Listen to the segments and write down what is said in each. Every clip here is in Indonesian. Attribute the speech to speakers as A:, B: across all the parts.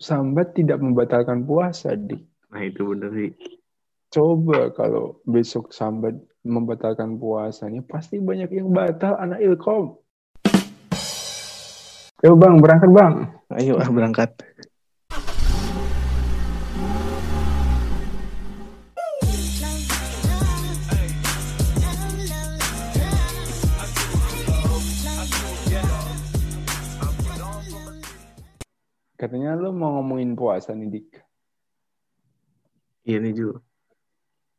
A: sambat tidak membatalkan puasa di.
B: Nah itu bener sih.
A: Coba kalau besok sambat membatalkan puasanya pasti banyak yang batal anak ilkom. Yo bang berangkat bang.
B: Ayo ah berangkat.
A: Katanya lu mau ngomongin puasa nih dik.
B: Iya nih Ju.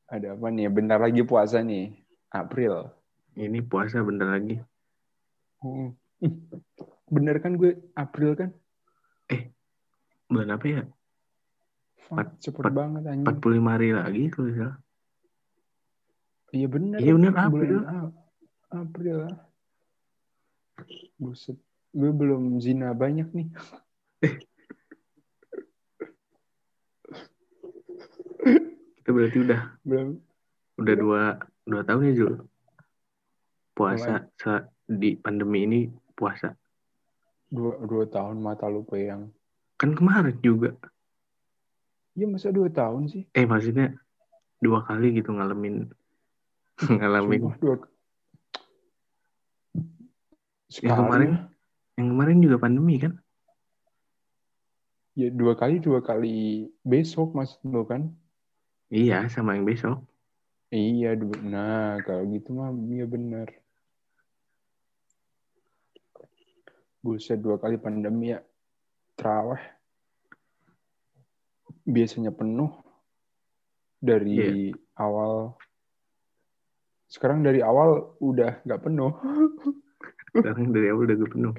A: Ada apa nih? Bentar lagi puasa nih. April.
B: Ini puasa bentar lagi.
A: Hmm. Ih, Bener kan gue April kan?
B: Bulan apa ya?
A: Fuck, cepet
B: empat-
A: banget anjing.
B: 45 hari lagi kalau nggak salah.
A: Iya bener.
B: Iya bener,
A: Bulan
B: April.
A: A- April. ah. Buset. Gue belum zina banyak nih.
B: Kita berarti udah
A: Belum.
B: udah dua dua tahun ya Ju. Puasa sa- di pandemi ini puasa.
A: Dua, dua tahun mata lu yang.
B: Kan kemarin juga.
A: Iya masa dua tahun sih?
B: Eh maksudnya dua kali gitu ngalamin ngalamin.
A: Sumpah, dua. Sekali.
B: kemarin? Yang kemarin juga pandemi kan?
A: Ya dua kali, dua kali besok maksud lu kan?
B: Iya sama yang besok.
A: Iya, du- nah kalau gitu mah iya benar. Buset dua kali pandemi ya. Terawih. Biasanya penuh dari awal. Sekarang dari awal udah nggak penuh.
B: Sekarang dari awal udah gue penuh.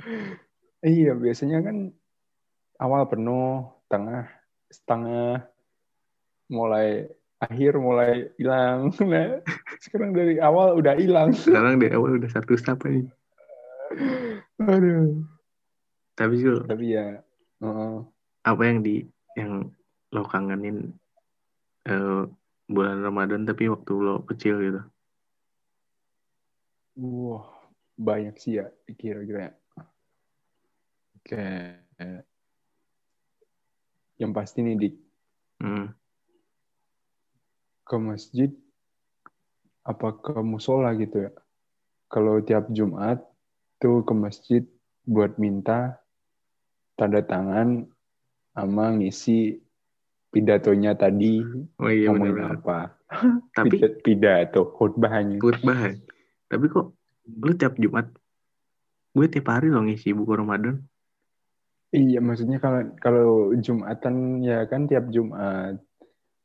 A: Iya, biasanya kan awal penuh, tengah, setengah, mulai akhir mulai hilang. Nah, sekarang dari awal udah hilang.
B: Sekarang dari awal udah satu stop nih.
A: Aduh.
B: Tapi Jul,
A: tapi ya heeh.
B: apa yang di yang lo kangenin eh, bulan Ramadan tapi waktu lo kecil gitu
A: wah banyak sih ya kira-kira kayak yang pasti nih di
B: hmm.
A: ke masjid apa ke musola gitu ya kalau tiap Jumat tuh ke masjid buat minta tanda tangan sama ngisi pidatonya tadi
B: oh iya
A: ngomongin
B: benar
A: apa
B: tapi
A: Pidat- pidato khutbahnya
B: bahan tapi kok lo tiap Jumat gue tiap hari lo ngisi buku Ramadan
A: Iya, maksudnya kalau kalau Jumatan ya kan tiap Jumat.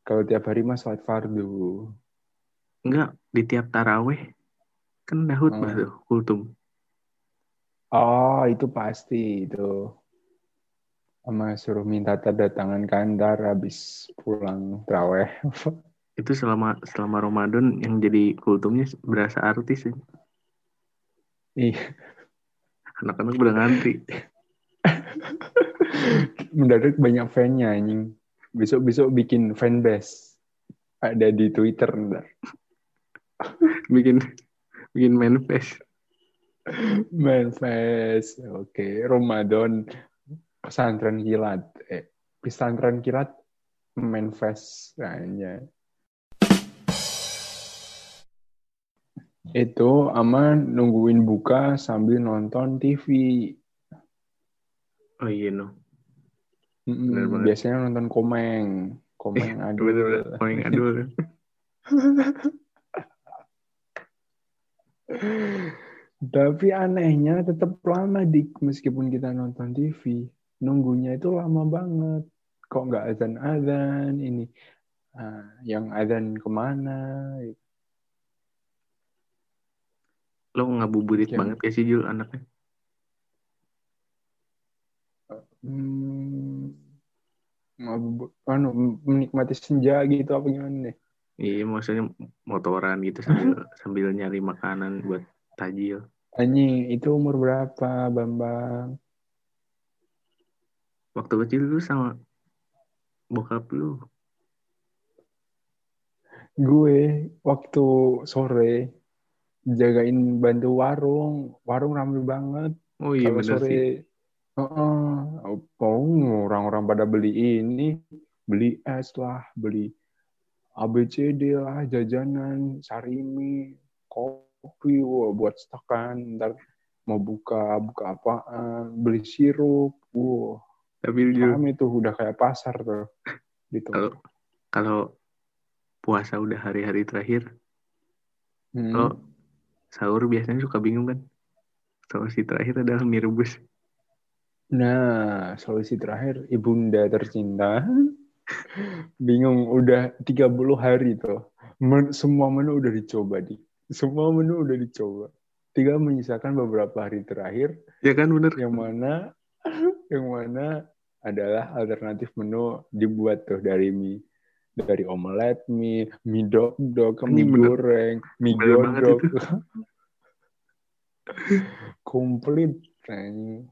A: Kalau tiap hari mah sholat fardu.
B: enggak di tiap taraweh kan udah khutbah
A: Hmm.
B: tuh kultum
A: Oh, itu pasti itu. Sama suruh minta tanda tangan kantar habis pulang traweh.
B: itu selama selama Ramadan yang jadi kultumnya berasa artis ya.
A: Iya,
B: anak-anak udah ngantri
A: mendadak banyak fan-nya anjing. Besok-besok bikin fanbase. Ada di Twitter ntar.
B: bikin bikin manifest
A: Manifest. Oke, Ramadan pesantren kilat. Eh, pesantren kilat manifest hanya. Itu aman nungguin buka sambil nonton TV.
B: oh iya no
A: Mm-mm,
B: Bener banget.
A: biasanya nonton komeng. Komeng aduh.
B: Iya, bener-bener paling adul
A: Tapi anehnya tetap lama dik meskipun kita nonton TV nunggunya itu lama banget. Kok nggak azan-azan ini? Ah, yang azan kemana? ya,
B: lo ngabuburit
A: Iya.
B: banget gak sih Jul anaknya
A: Hmm, ngabu- anu, menikmati senja gitu apa gimana nih?
B: iya maksudnya motoran gitu sambil sambil nyari makanan buat tajil
A: Anjing, itu umur berapa, Bambang?
B: waktu kecil lu sama bokap lu
A: Gue waktu sore jagain bantu warung, warung ramai banget.
B: oh iya
A: kalau
B: bener
A: sore
B: sih
A: Heeh, oh, orang-orang pada beli ini, beli es lah, beli ABCD lah, jajanan, sarimi, kopi, wah, buat stakan, ntar mau buka, buka apaan, beli sirup, wah,
B: Tapi jujur,
A: paham itu udah kayak pasar tuh. Gitu.
B: Kalau- kalau puasa udah hari-hari terakhir,
A: Hmm.
B: kalau sahur biasanya suka bingung kan. Solusi terakhir adalah mie rebus.
A: Nah, solusi terakhir, ibunda tercinta, bingung udah 30 hari tuh. Men- semua menu udah dicoba, di. Semua menu udah dicoba. Tiga menyisakan beberapa hari terakhir,
B: Ya kan bener?
A: yang mana yang mana adalah alternatif menu dibuat tuh dari mie dari omelet mie, mie dok-dok,
B: Ini
A: mie
B: bener-
A: goreng, mie
B: bener banget
A: godok. Komplit. anjing.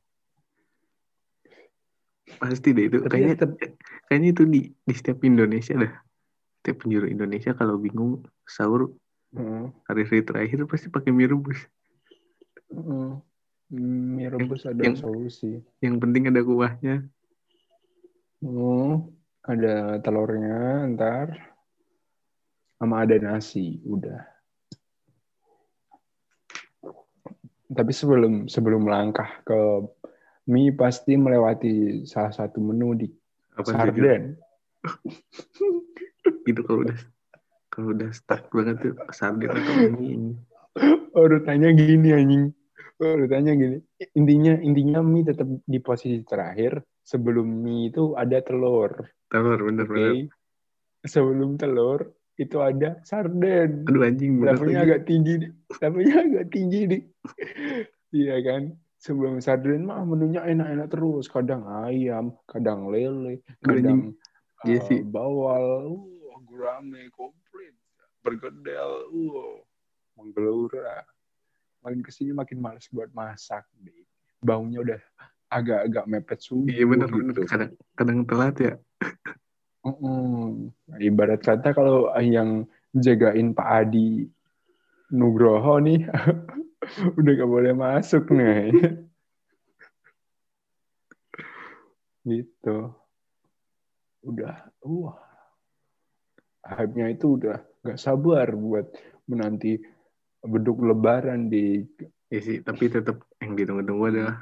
B: Pasti deh itu.
A: Tapi
B: Kayaknya,
A: tetep-
B: kayaknya itu di, di setiap Indonesia dah. Setiap penjuru Indonesia kalau bingung sahur
A: Heeh.
B: hari-hari terakhir pasti pakai mie rebus.
A: Heeh. Mm, Mie rebus ada
B: yang-
A: solusi.
B: Yang penting ada kuahnya.
A: Hmm, ada telurnya ntar sama ada nasi udah. Tapi sebelum sebelum melangkah ke mie pasti melewati salah satu menu di
B: Apa sih?
A: sarden.
B: Gitu kalau udah kalau udah stuck banget tuh sarden atau mie.
A: Urutannya gini anjing. Urutannya gini. Intinya intinya mie tetap di posisi terakhir. Sebelum mie itu ada telur.
B: Telur bener
A: Oke.
B: bener.
A: Sebelum telur itu ada sarden.
B: Aduh anjing bener
A: Levelnya
B: lagi.
A: agak tinggi, Di. levelnya agak tinggi nih. Iya kan? Sebelum sarden mah menunya enak-enak terus, kadang ayam, kadang lele, kadang
B: Iya
A: eh,
B: sih.
A: bawal, uh, gurame, komplit, bergedel, uh, menggelora. Makin kesini makin males buat masak, Di. Baunya udah agak-agak mepet subuh.
B: Iya bener
A: gitu.
B: bener. Kadang kadang telat ya.
A: Mm-mm. Ibarat kata kalau yang jagain Pak Adi Nugroho nih udah gak boleh masuk nih. gitu. Udah, wah. Hype-nya itu udah gak sabar buat menanti beduk lebaran di
B: Iya sih, tapi tetap yang ditunggu-tunggu adalah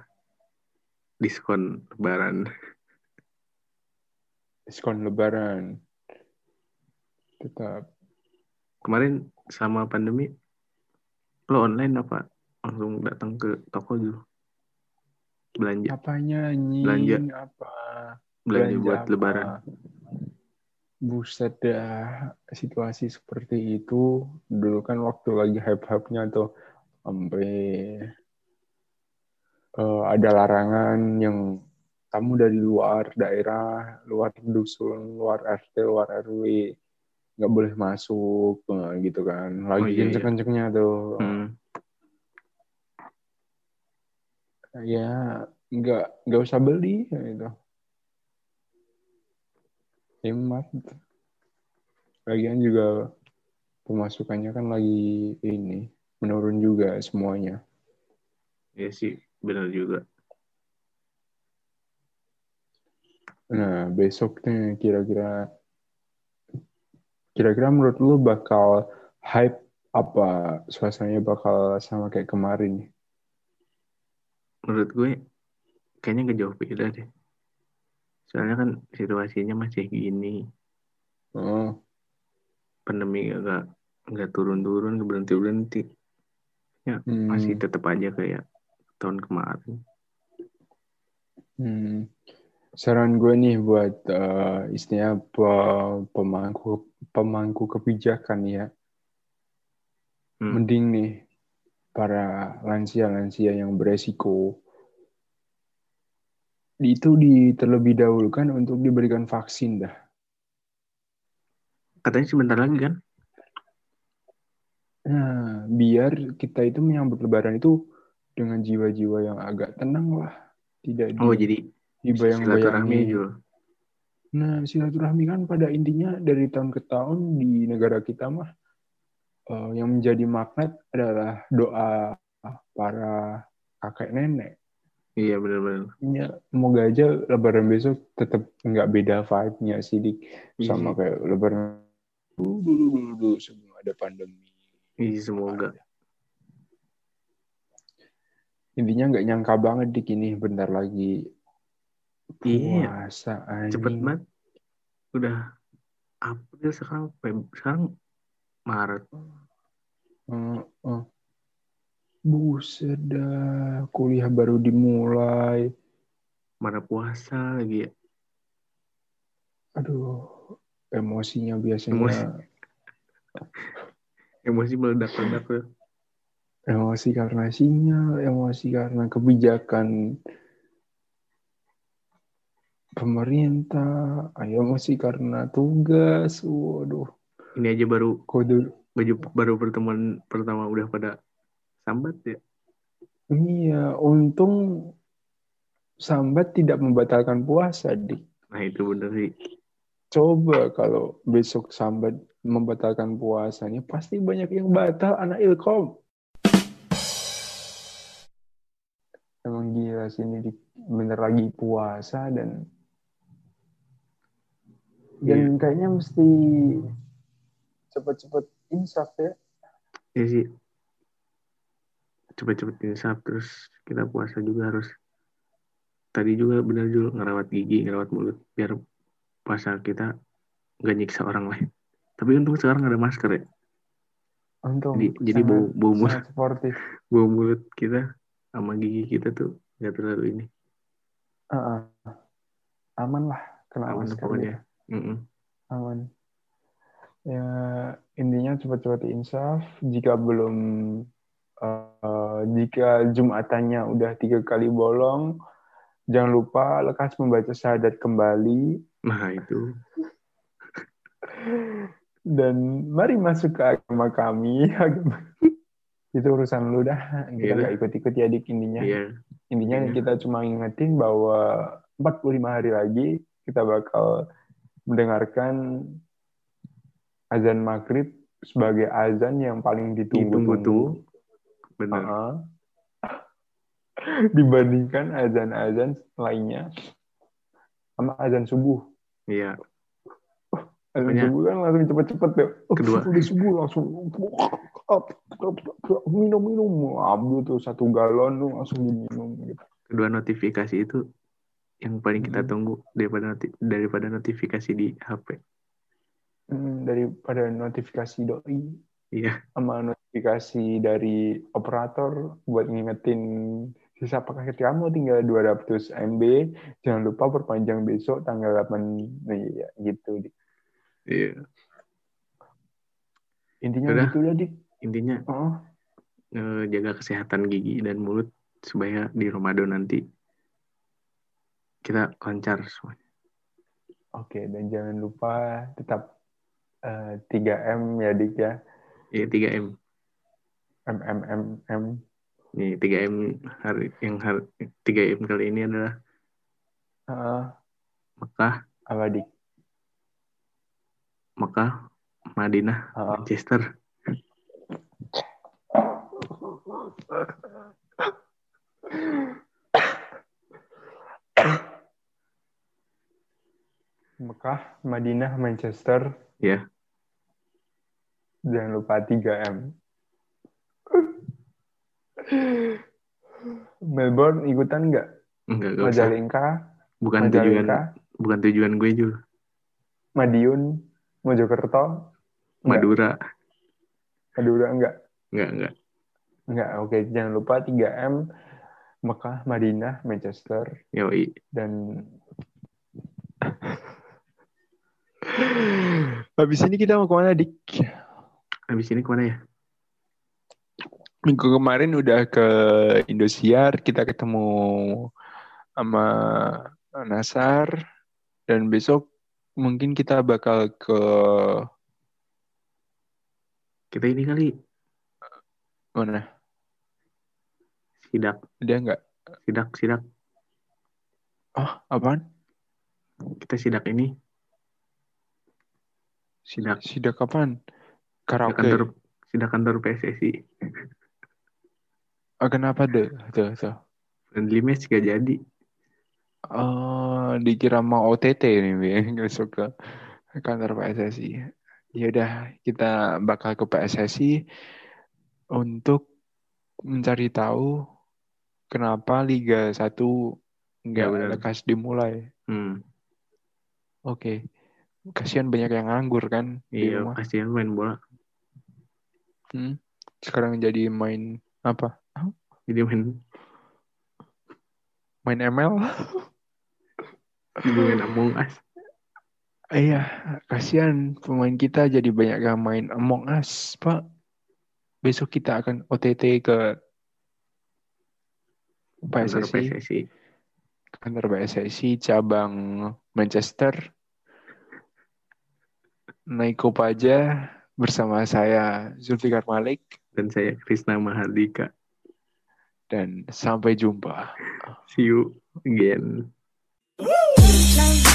B: diskon lebaran.
A: diskon lebaran. Tetap
B: Kemarin selama pandemi, lo online apa? Langsung datang ke toko dulu. Belanja,
A: apanya anjing?
B: Belanja.
A: Apa?
B: belanja
A: Belanja
B: buat
A: apa?
B: lebaran.
A: Buset dah, situasi seperti itu dulu kan waktu lagi hype-hype-nya tuh sampai eh, ada larangan yang tamu dari luar daerah, luar dusun, luar RT, luar RW nggak boleh masuk eh, gitu kan. Lagi
B: Oh, iya, iya.
A: kenceng-kencengnya tuh.
B: Hmm.
A: Ya nggak nggak usah beli ya gitu. Hemat. Lagian juga pemasukannya kan lagi ini menurun juga semuanya.
B: Iya sih, bener juga.
A: Nah, besoknya kira-kira kira-kira menurut lu bakal hype apa suasananya bakal sama kayak kemarin?
B: Menurut gue, kayaknya gak jauh beda deh. Soalnya kan situasinya masih gini.
A: Oh,
B: Pandemi gak, nggak turun-turun, gak berhenti-berhenti.
A: hmm,
B: Masih tetap aja kayak tahun kemarin.
A: hmm. Saran gue nih buat eh, istilahnya pe- pemangku pemangku kebijakan ya.
B: Hmm.
A: Mending nih para lansia-lansia yang beresiko itu di terlebih dahulukan untuk diberikan vaksin dah.
B: Katanya sebentar lagi kan?
A: Nah, biar kita itu menyambut lebaran itu dengan jiwa-jiwa yang agak tenang lah. Tidak
B: Oh,
A: di, gitu.
B: jadi silaturahmi
A: dibayang-bayangi.
B: juga.
A: Nah, silaturahmi kan pada intinya dari tahun ke tahun di negara kita mah eh, yang menjadi magnet adalah doa para kakek nenek.
B: Iya benar-benar.
A: Ya, semoga aja lebaran besok tetap nggak beda vibe-nya sih Dik. sama
B: Iya.
A: kayak lebaran dulu dulu dulu sebelum ada pandemi.
B: Iya semoga.
A: Intinya nggak nyangka banget Dik ini bentar lagi
B: Iya.
A: puasa anjing.
B: Cepet banget. Udah April sekarang Feb- sekarang Maret.
A: Heeh. Eh, Buset dah, kuliah baru dimulai.
B: Mana puasa lagi ya.
A: Aduh, emosinya biasanya
B: Emosi. Emosi meledak-ledak tuh.
A: emosi karena sinyal, emosi karena kebijakan pemerintah, emosi karena tugas. Waduh,
B: Ini aja baru
A: kode
B: baju baru pertemuan pertama udah pada sambat ya.
A: iya, untung sambat tidak membatalkan puasa, Dik.
B: Nah itu bener sih.
A: Coba kalau besok sambat membatalkan puasanya, pasti banyak yang batal anak ilkom. Emang gila sih ini Dik. bener lagi puasa dan dan
B: Iya.
A: kayaknya mesti cepet-cepet insaf ya.
B: Iya sih. Cepet-cepet insaf terus kita puasa juga harus. Tadi juga bener juga ngerawat gigi, ngerawat mulut biar puasa kita nggak nyiksa orang lain. Tapi untung sekarang ada masker ya.
A: Untung
B: Jadi, jadi
A: Oh,
B: bau
A: sangat-
B: bau mulut,
A: sangat sportif.
B: bau mulut kita sama gigi kita tuh nggak terlalu ini.
A: Ah, ah. Aman lah kena
B: Aman
A: masker
B: pokoknya.
A: ya.
B: Mm-mm.
A: aman ya intinya cepat-cepat insaf jika belum eh, jika jumatannya udah tiga kali bolong jangan lupa lekas membaca syahadat kembali
B: Nah itu
A: dan mari masuk ke agama kami agama itu urusan lu dah
B: Iya.
A: kita nggak ikut-ikut ya dik intinya
B: iya.
A: intinya
B: Iya.
A: kita cuma ngingetin bahwa 45 hari lagi kita bakal mendengarkan azan maghrib sebagai azan yang paling ditunggu-tunggu
B: Ditunggu-tunggu. Benar.
A: Heeh. dibandingkan azan-azan lainnya sama azan subuh
B: Iya.
A: azan
B: Banyak.
A: subuh kan langsung cepet-cepet ya Oh,
B: Iya. Kedua.
A: udah subuh langsung minum-minum ambil tuh satu galon tuh langsung diminum gitu
B: Kedua notifikasi itu yang paling kita
A: Mm.
B: tunggu daripada noti- daripada notifikasi di HP.
A: Hmm, daripada notifikasi doi
B: Iya.
A: sama notifikasi dari operator buat ngingetin sisa paket kamu tinggal 200 MB jangan lupa perpanjang besok tanggal 8 Nah, iya, gitu Dik.
B: Iya.
A: intinya
B: Udah.
A: gitu ya dik
B: Intinya
A: oh,
B: eh, jaga kesehatan gigi dan mulut supaya di Ramadan nanti kita lancar semuanya.
A: oke dan jangan lupa tetap eh, 3M ya dik ya
B: Iya 3M.
A: M M M M
B: Nih 3M hari yang hari 3M kali ini adalah
A: Heeh,
B: Mekah,
A: apa dik
B: Mekah, Madinah,
A: Heeh.
B: Manchester.
A: Mekah Madinah Manchester
B: Iya.
A: jangan lupa 3M Melbourne ikutan nggak
B: Enggak, enggak usah.
A: Majalengka
B: Bukan tujuan
A: Majalengka
B: bukan tujuan gue juga.
A: Madiun Mojokerto
B: Madura.
A: Madura nggak
B: Enggak, enggak.
A: nggak oke jangan lupa 3M Mekah Madinah Manchester
B: Yoi.
A: dan habis ini kita mau kemana dik
B: Habis ini kemana ya?
A: minggu kemarin udah ke Indosiar kita ketemu sama Nasar dan besok mungkin kita bakal ke
B: Kita ini kali
A: mana
B: sidak,
A: ada nggak
B: sidak, sidak.
A: ah apaan
B: Kita sidak ini Sidak.
A: sidak kapan
B: sidak
A: karaoke
B: kantor sidak kantor PSSI.
A: Ah, kenapa deh tuh tuh
B: Dan di match gak jadi.
A: Oh, dikira mau OTT ini Bi. besok ke kantor PSSI. Ya udah, kita bakal ke PSSI untuk mencari tahu kenapa Liga 1 nggak
B: Ya, benar.
A: lekas dimulai.
B: Hmm.
A: Oke. Kasihan banyak yang nganggur kan di
B: Iya,
A: rumah.
B: kasihan main bola.
A: Hmm. Sekarang jadi main apa?
B: Jadi main,
A: Main ML?
B: jadi main Among Us.
A: Iya, kasihan pemain kita jadi banyak yang main Among Us, Pak. Besok kita akan OTT ke
B: Kantor
A: PSSI,
B: PSSI.
A: kantor PSSI cabang Manchester. Naik Kopaja bersama saya Zulfikar Malik
B: Dan saya Krisna Mahardika.
A: dan sampai jumpa.
B: See you again.
C: Love